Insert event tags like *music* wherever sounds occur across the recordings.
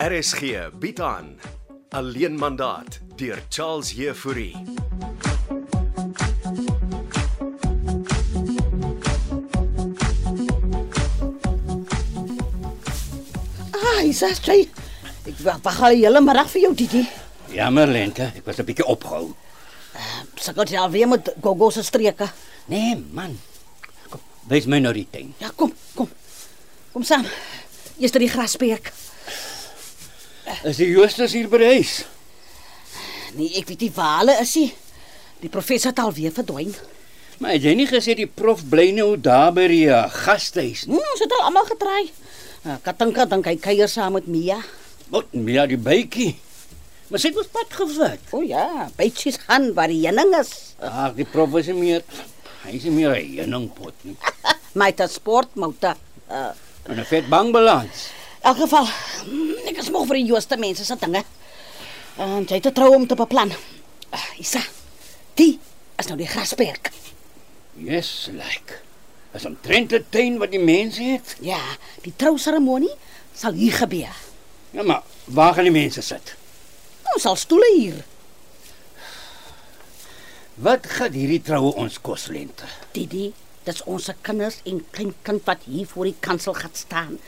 RSG bied aan Alleen mandaat deur Charles Heffouri. Ah, is dit jy? Ek wag wag al hele middag vir jou, Titi. Jammer lente, Ja, ek was 'n bietjie opgehou. Sukkel jy alweer met Gogo se streke? Nee man. Kom, wys my nou die ding. Ja, kom, kom. Kom saam. Eers die grasperk. Is die Justus hier bereis? Nee, ek weet nie waar hulle is nie. Die professor het alweer verdwyn. Maar het jy nie gesê die prof bly nou daar by die uh, gastehuis nie? Hmm, ons het al almal getraai. Ah, Katinka dink hy kuier saam met Mia. Wat Mia die bytjie. Maar sy het ons pad gevat. O ja, bytjies gaan waar die heuning is. *laughs* Ag, die prof is nie meer. Hy is nie meer 'n heuningpot nie. My ta sport moute. Uh, En 'n vet bankbalans. in elk geval, hmm, ek is moeg vir die jooste mense se dinge. En jy het 'n trou om te beplan. Ah, Isa. Die is nou die grasperk. Yes, like. As 'n trentetuin wat die mense het. Ja, die trouseremonie sal hier gebeur. Ja, maar waar gaan die mense sit? Ons sal stoele hier. Wat gaan hierdie troue ons kos lente? Didi, dis ons kinders en kleinkind wat hier voor die kansel gaan staan.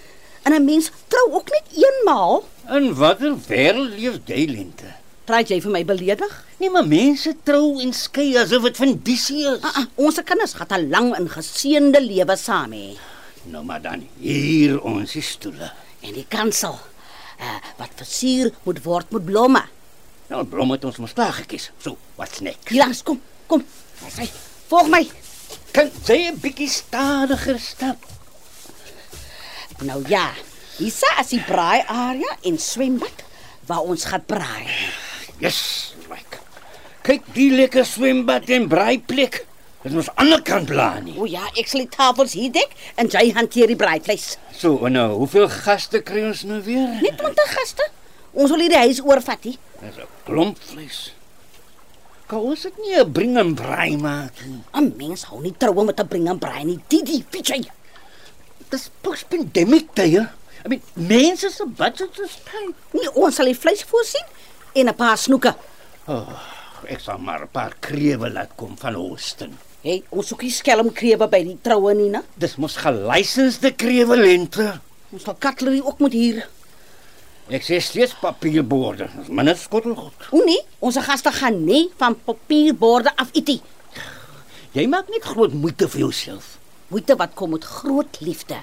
En 'n mens trou ook net eenmaal. In watter wêreld leef jy lente? Praat jy vir my beledig? Nee, maar mense trou en skei asof dit van disie is. Ah, ah, ons kinders gaan 'n lang en geseënde lewe saam hê. Nou maar dan hier ons die stoele. En die kansel uh, wat versier moet word met blomme. Nou brom het ons mos klaar gekies. So, wat's nek? Hier langs kom, kom. Sy, volg my. Kan jy 'n bietjie stadiger stap? Nou ja, hiersa is die braai area en swembad waar ons gaan braai. Yes, like. Kyk die lekker swembad en braaiplek. Dit moet aan die ander kant blaan nie. O ja, ek sal die tafels hier dek en jy hanteer die braaivleis. So, en nou, hoeveel gaste kry ons nou weer? Net 20 gaste. Ons wil hierdie huis oorvat hier. Dis 'n klomp vleis. Kan ons dit nie 'n bring en braai maak nie? 'n Mens hou nie troue met 'n bring en braai nie. Didi, weet jy? Dis post-pandemic tye. I mean, mense se budget is tight. Nee, ons sal die vleis voorsien en 'n paar snoeke. Oh, ek sal maar 'n paar krewe laat kom van Holston. Hey, ons soek nie skelmkrewe by die troue nie, né? Dis mos gelisensde krewe lente. Ons sal cutlery ook moet hier. Ek sê steeds papierborde. Dis minder skottelgoed. O nee, ons gaste gaan nie van papierborde af eet nie. Jy maak net groot moeite vir jouself. Moeite wat kom met groot liefde.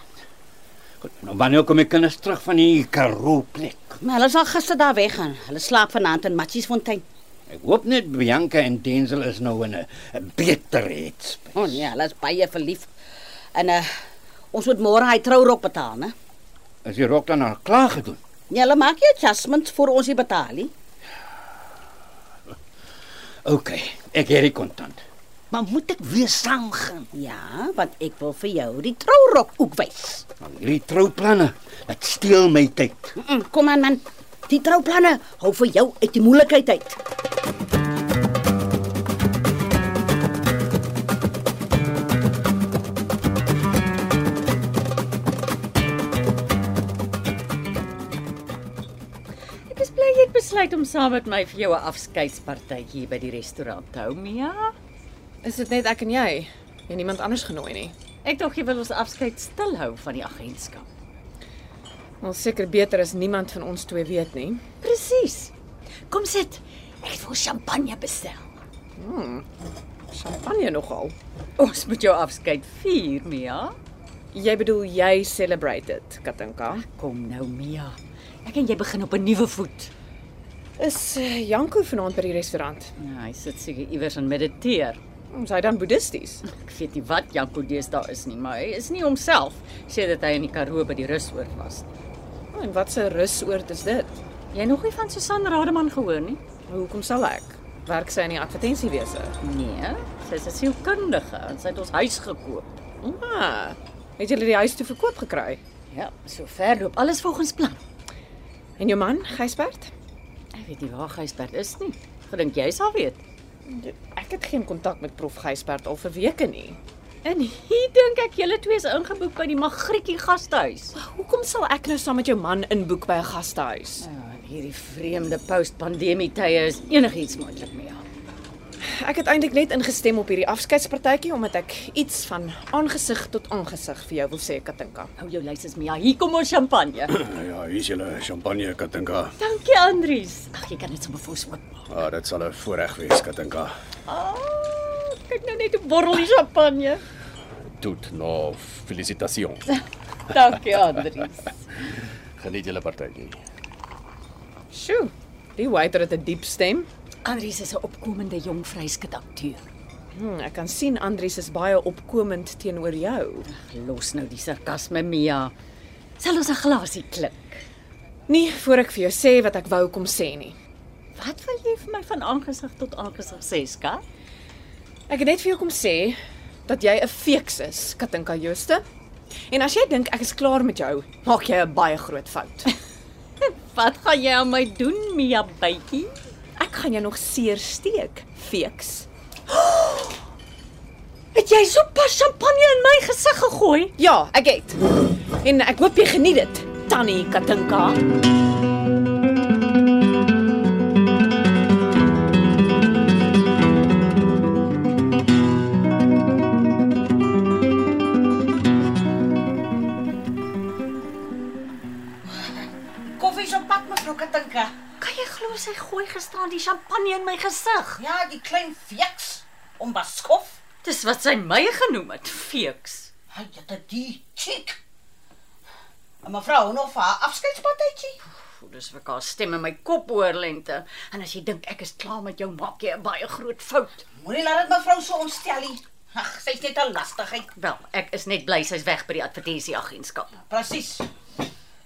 Goed, nou wanneer kom ek kinders terug van die Karoo plek? Maar hulle sal gister daar weggaan. Hulle slaap vanaand in Matchiesfontein. Ek hoop net Bianca en Denzel is nou in 'n- 'n beter iets. O oh, nee, hulle is baie verlief. En uh ons moet môre hy trourok betaal, né? As jy rok dan al klaar gedoen. Nee, hulle maak nie adjustments vir ons hier betaal nie. OK, ek het die kontant. Maar moet ek weer saam gaan? Ja, want ek wil vir jou die trourok ook wys. Nou, hierdie trouplanne, dit steel my tyd. Mm -mm, Kom aan man. Die trouplanne hou vir jou uit die moeilikheid uit. Ek is bly jy het besluit om saam met my vir jou 'n afskeidspartytjie by die restaurant te hou, Mia. Is dit net ek en jy? Jy het niemand anders genooi nie. Ek dink jy wil ons afskeid stil hou van die agentskap. Ons seker beter as niemand van ons twee weet nie. Presies. Kom sit. Ek het vir ons champagne bestel. Champagne nogal. Ons moet jou afskeid vier, Mia. Jy bedoel jy celebrate dit, Katinka? Kom nou, Mia. Ek en jy begin op 'n nuwe voet. Is eh, Janko vanaand by die restaurant? Nou, hy sit seker iewers en mediteer. Ons hy dan boeddhisties. Ek weet nie wat Janko deesdae is nie, maar hy is nie homself sedert hy in die Karoo by die rusoord was nie. Oh, en wat 'n rusoord is dit? Jy nog nie van Susan Rademan gehoor nie? Hoekom sal ek? Werk sy in die advertensiewese? Nee, sy's 'n sielkundige en sy het ons huis gekoop. Ah, het julle die huis toe verkoop gekry? Ja, sover loop alles volgens plan. En jou man, Gysbert? Ek weet nie waar Gysbert is nie. Gedink jy sal weet. Ek het geen kontak met prof Gysbert al vir weke nie. En hier dink ek julle twee is ingeboek by die Magrietjie gastehuis. Hoekom sal ek nou saam met jou man inboek by 'n gastehuis? Nou, in hierdie vreemde post-pandemie tye is enigiets moontlik mee. Ek het eintlik net ingestem op hierdie afskeidspartytjie omdat ek iets van aangesig tot aangesig vir jou wil sê, Katinka. Hou jou lysies mee. Hier kom ons champagne. Nou ja, hier is julle champagne Katinka. *clears throat* Dankie Andries. Ag, jy kan net sommer voor oop maak. Ah, dit sal 'n voorreg wees Katinka. Ah, kyk nou net hoe borrel die champagne. Tot nou felicitations. Dankie Andries. Geniet julle partytjie. Sjoe. Die waiter het 'n diep stem. Andries is 'n opkomende jong vryskut akteur. Hm, ek kan sien Andries is baie opkomend teenoor jou. Los nou die sarkasme, Mia. Sal ons 'n glasie klink? Nie voor ek vir jou sê wat ek wou kom sê nie. Wat wil jy vir my van aangesig tot aangesig sê, skat? Ek het net vir jou kom sê dat jy 'n feeks is, Katinka Jooste. En as jy dink ek is klaar met jou, maak jy 'n baie groot fout. Wat gaan jy aan my doen, Mia bytjie? Ek gaan jou nog seer steek, feeks. *gasps* Het jy sopas champagne in my gesig gegooi? Ja, ek het. En ek hoop jy geniet dit, Tannie Katinka. Koffie so pak mevrou Katinka. Kan jy glo sy gooi gestaan die champagne in my gesig? Ja, die klein fiks om baskof. Dis wat sy my genoem het, feeks. Hy het dit die chick. En mevrou nog vir haar afskeidspartytjie. Voel dis vir haar stem in my kop oor lente. En as jy dink ek is klaar met jou, maak jy 'n baie groot fout. Moenie laat dit mevrou so ontstel nie. Ag, sy's net 'n lastigheid. Wel, ek is net bly sy's weg by die advertensieagentskap. Presies.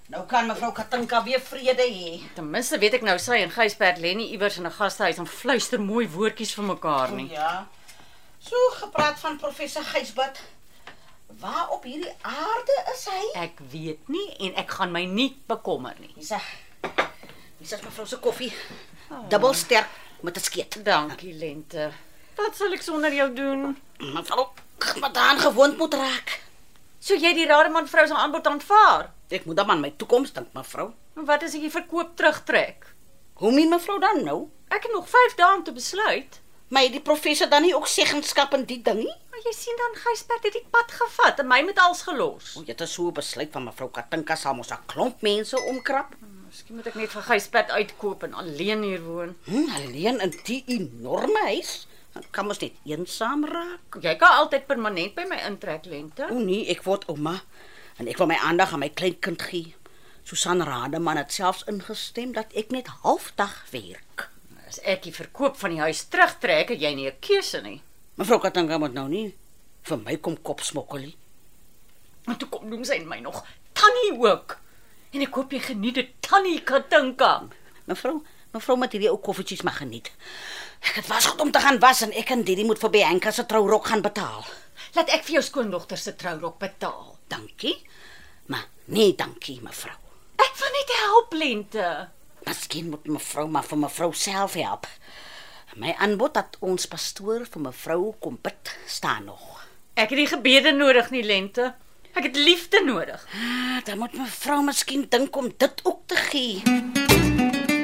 Nou kan mevrou Katinka weer vrede hê. Ten minste weet ek nou sy en Gysbert lê nie iewers in 'n gastehuis en fluister mooi woordjies vir mekaar nie. Ja. So gepraat van professor Gysbert. Waar op hierdie aarde is hy? Ek weet nie en ek gaan my nie bekommer nie. Hier's hy. Hier's mevrou se koffie. Dubbel sterk met 'n skeet. Dankie Lente. Wat sal ek sonder jou doen? Maar sal ook maar daan gewoond moet raak. Sou jy die rademan vrou se aanbod aanvaar? Ek moet dan aan my toekoms dink, mevrou. En wat as ek die verkoop terugtrek? Hoe meen mevrou dan nou? Ek het nog 5 dae om te besluit. My die professor dan nie ook seggenskap in die ding nie? Maar jy sien dan Gysbert het die pad gevat en my met als gelos. O, dit is so 'n besluit van mevrou Katinka sal mos 'n klomp mense omkrap. Miskien moet ek net vir Gysbert uitkoop en alleen hier woon. Hm, alleen in die enorme huis. Dan kan mos net eensaam raak. Jy kan altyd permanent by my intrek Lente. O nee, ek word ouma en ek wil my aandag aan my kleinkind gee. Susan Rademan het selfs ingestem dat ek net halfdag werk. As ek die verkoop van die huis terugtrek, het jy nie 'n keuse nie. Mevrou Katinka moet nou nie vir my kom kop smokkel nie. Maar toe kom noem sy my nog Tannie ook. En ek hoop jy geniet dit Tannie Katinka. Mevrou, mevrou moet hierdie ou koffietjies maar geniet. Ek het was goed om te gaan was en ek en Didi moet vir Bianca se trourok gaan betaal. Laat ek vir jou skoondogter se trourok betaal. Dankie. Maar nee, dankie mevrou. Ek wil net help Lente. Miskien moet mevrou maar vir mevrou self help. My aanbod dat ons pastoor vir mevrou kom bid staan nog. Ek het nie gebede nodig nie Lente. Ek het liefde nodig. Ah, dan moet mevrou miskien dink om dit ook te gee.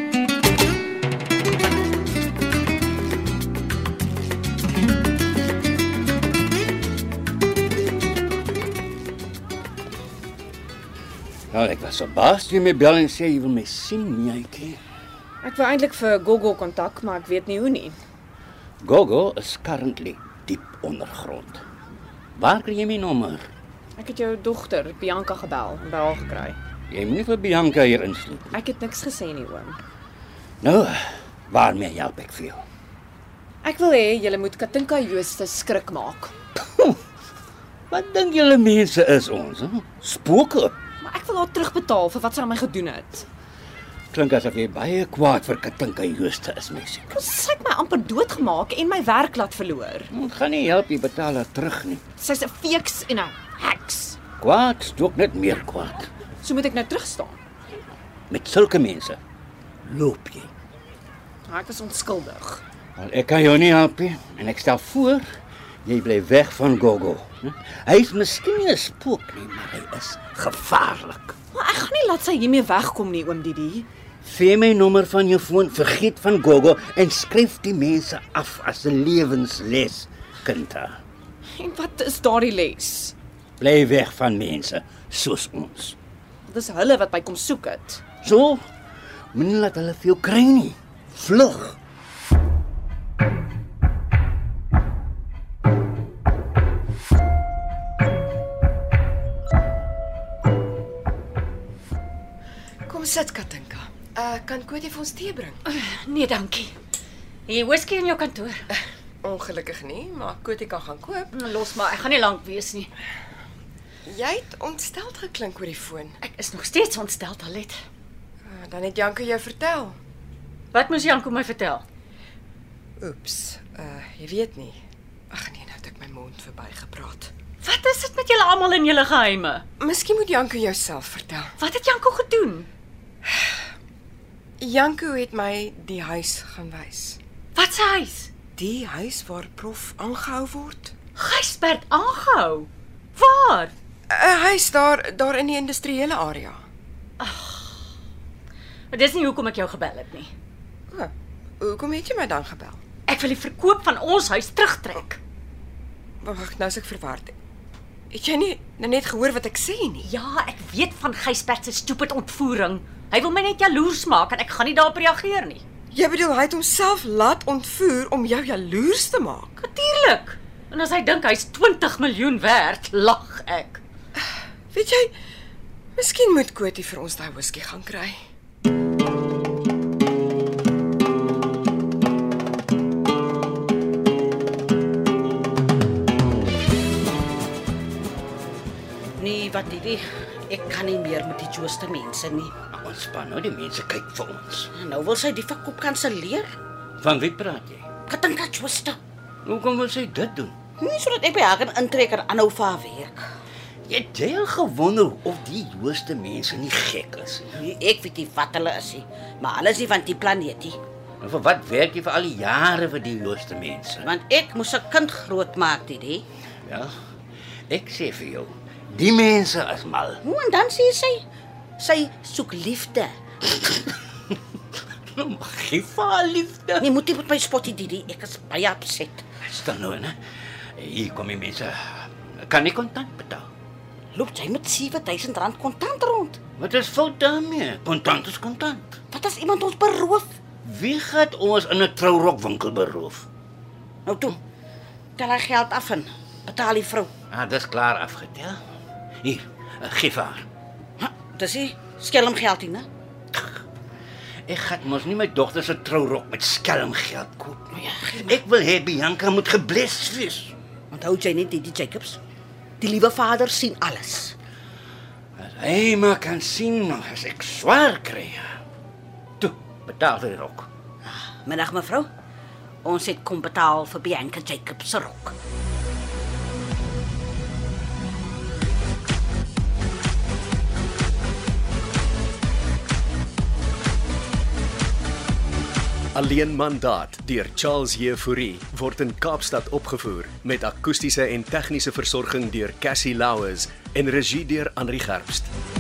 Wel, Nou, ek was verbaas toe jy my bel en sê jy wil my sien, Mietjie. Ek wou eintlik vir Gogo kontak, maar ek weet nie hoe nie. Gogo is currently diep ondergrond. Waar kry jy my nommer? Ek het jou dogter, Bianca gebel en by haar gekry. Jy moenie vir Bianca hier insluit. nie. Ek het niks gesê nie, oom. Nou, waarmee help ek vir jou? Ek wil hê julle moet Katinka Jooste skrik maak. Wat dink julle mense is ons? Hè? Spooke. Maar ek wil haar terugbetaal vir wat sy aan my gedoen het. Klink asof jy baie kwaad vir Katinka Jooste is, meisie. Sy het my amper doodgemaak en my werk laat verloor. Dit gaan nie help jy betaal haar terug nie. Sy's 'n feeks en 'n heks. Kwaad stook net meer kwaad. So moet ek nou terugstaan. Met sulke mense loop jy. Maar ek was onskuldig. Wel, ek kan jou nie help nie en ek stel voor Jy bly weg van Gogo. Hm? Hy's miskien nie 'n spook nie, maar hy is gevaarlik. Maar ek gaan nie laat sy hiermee wegkom nie, oom Didi. Vee my nommer van jou foon, vergeet van Gogo en skryf die mense af as 'n lewensles, kinda. En wat is daardie les? Bly weg van mense soos ons. Dis hulle wat my kom soek het. So, moenie laat hulle vir jou kry nie. Vlug. Kom sit, Katinka. Uh kan Kotie vir ons tee bring? Nee, dankie. Hier whisky in jou kantoor. Eh, Nou, Ongelukkig nie, maar Kotie kan gaan koop. Los maar, ek gaan nie lank wees nie. Jy het ontsteld geklink oor die foon. Ek is nog steeds ontstel, Alet. Uh, dan het Janko jou vertel. Wat moes Janko my vertel? Oeps, uh jy weet nie. Ag nee, nou het ek my mond verbygepraat. Wat is dit met julle almal en julle geheime? Miskien moet Janko jouself vertel. Wat het Janko gedoen? Janko het my die huis gaan wys. Wat se huis? Die huis waar prof aangehou word. Gysbert aangehou. Waar? Eh, 'n Huis daar daar in die industriële area. Maar dis nie hoekom ek jou gebel het nie. O, hoekom het jy my dan gebel? Ek wil die verkoop van ons huis terugtrek. Wag, nou is ek verward. Het jy nie nou net gehoor wat ek sê nie? Ja, ek weet van Gysbert se stupid ontvoering. Hy wil my net jaloers maak en ek gaan nie daarop reageer nie. Jy bedoel hy het homself laat ontvoer om jou jaloers te maak? Natuurlik. En as hy dink hy's 20 miljoen werd, lag ek. Weet jy, miskien moet Kotie vir ons daai whisky gaan kry. Nee, wat dit is. Ek kan nie meer met die jooste mense nie. Ontspan nou, die mense kyk vir ons. Nou wil sy die verkoop kanselleer. Van wie praat jy? Katinka jooste. Hoekom wil sy dit doen? Nie Nee, sodat ek by haar kan intrek en aanhou vir haar werk. Het jy al gewonder of die Jooste mense nie gek is nie? Nee, ek weet nie wat hulle is nie, maar hulle is nie van die planeet nie. En vir wat werk jy vir al die jare vir die Jooste mense? Want ek moes 'n kind grootmaak, Didi. Ja. Ek sê vir jou, die mense is mal. *laughs* Hoe en dan sê sy sy soek liefde. Gif haar liefde. Nee, moet jy met my spot, nie, Didi. Ek is baie opset. Staan nou, né? Hier kom die mense. Kan ek kontant betaal? Loop jy met R7000 kontant rond? Wat is fout daarmee? Kontant is kontant. Wat as iemand ons beroof? Wie gaan ons in 'n trourokwinkel beroof? Nou toe. Tel haar geld af en betaal die vrou. Ah, dis klaar afgetel. Hier, eh, gif haar. Ha, dis hy skelm geld nie, né? Ek gaan mos nie my dogter se trourok met skelmgeld koop nie. Ek wil hê Bianca moet gebless wees. Onthou jy net Didi Jacobs? Die liewe vader sien alles. As hy maar kan sien as ek swaar kry. Toe, betaal vir die rok. Middag mevrou. Ons het kom betaal vir Bianca Jacobs se rok. Alleen mandaat deur Charles Jefouri word in Kaapstad opgevoer met akoestiese en tegniese versorging deur Cassie Louws en regie deur Henri Gerst.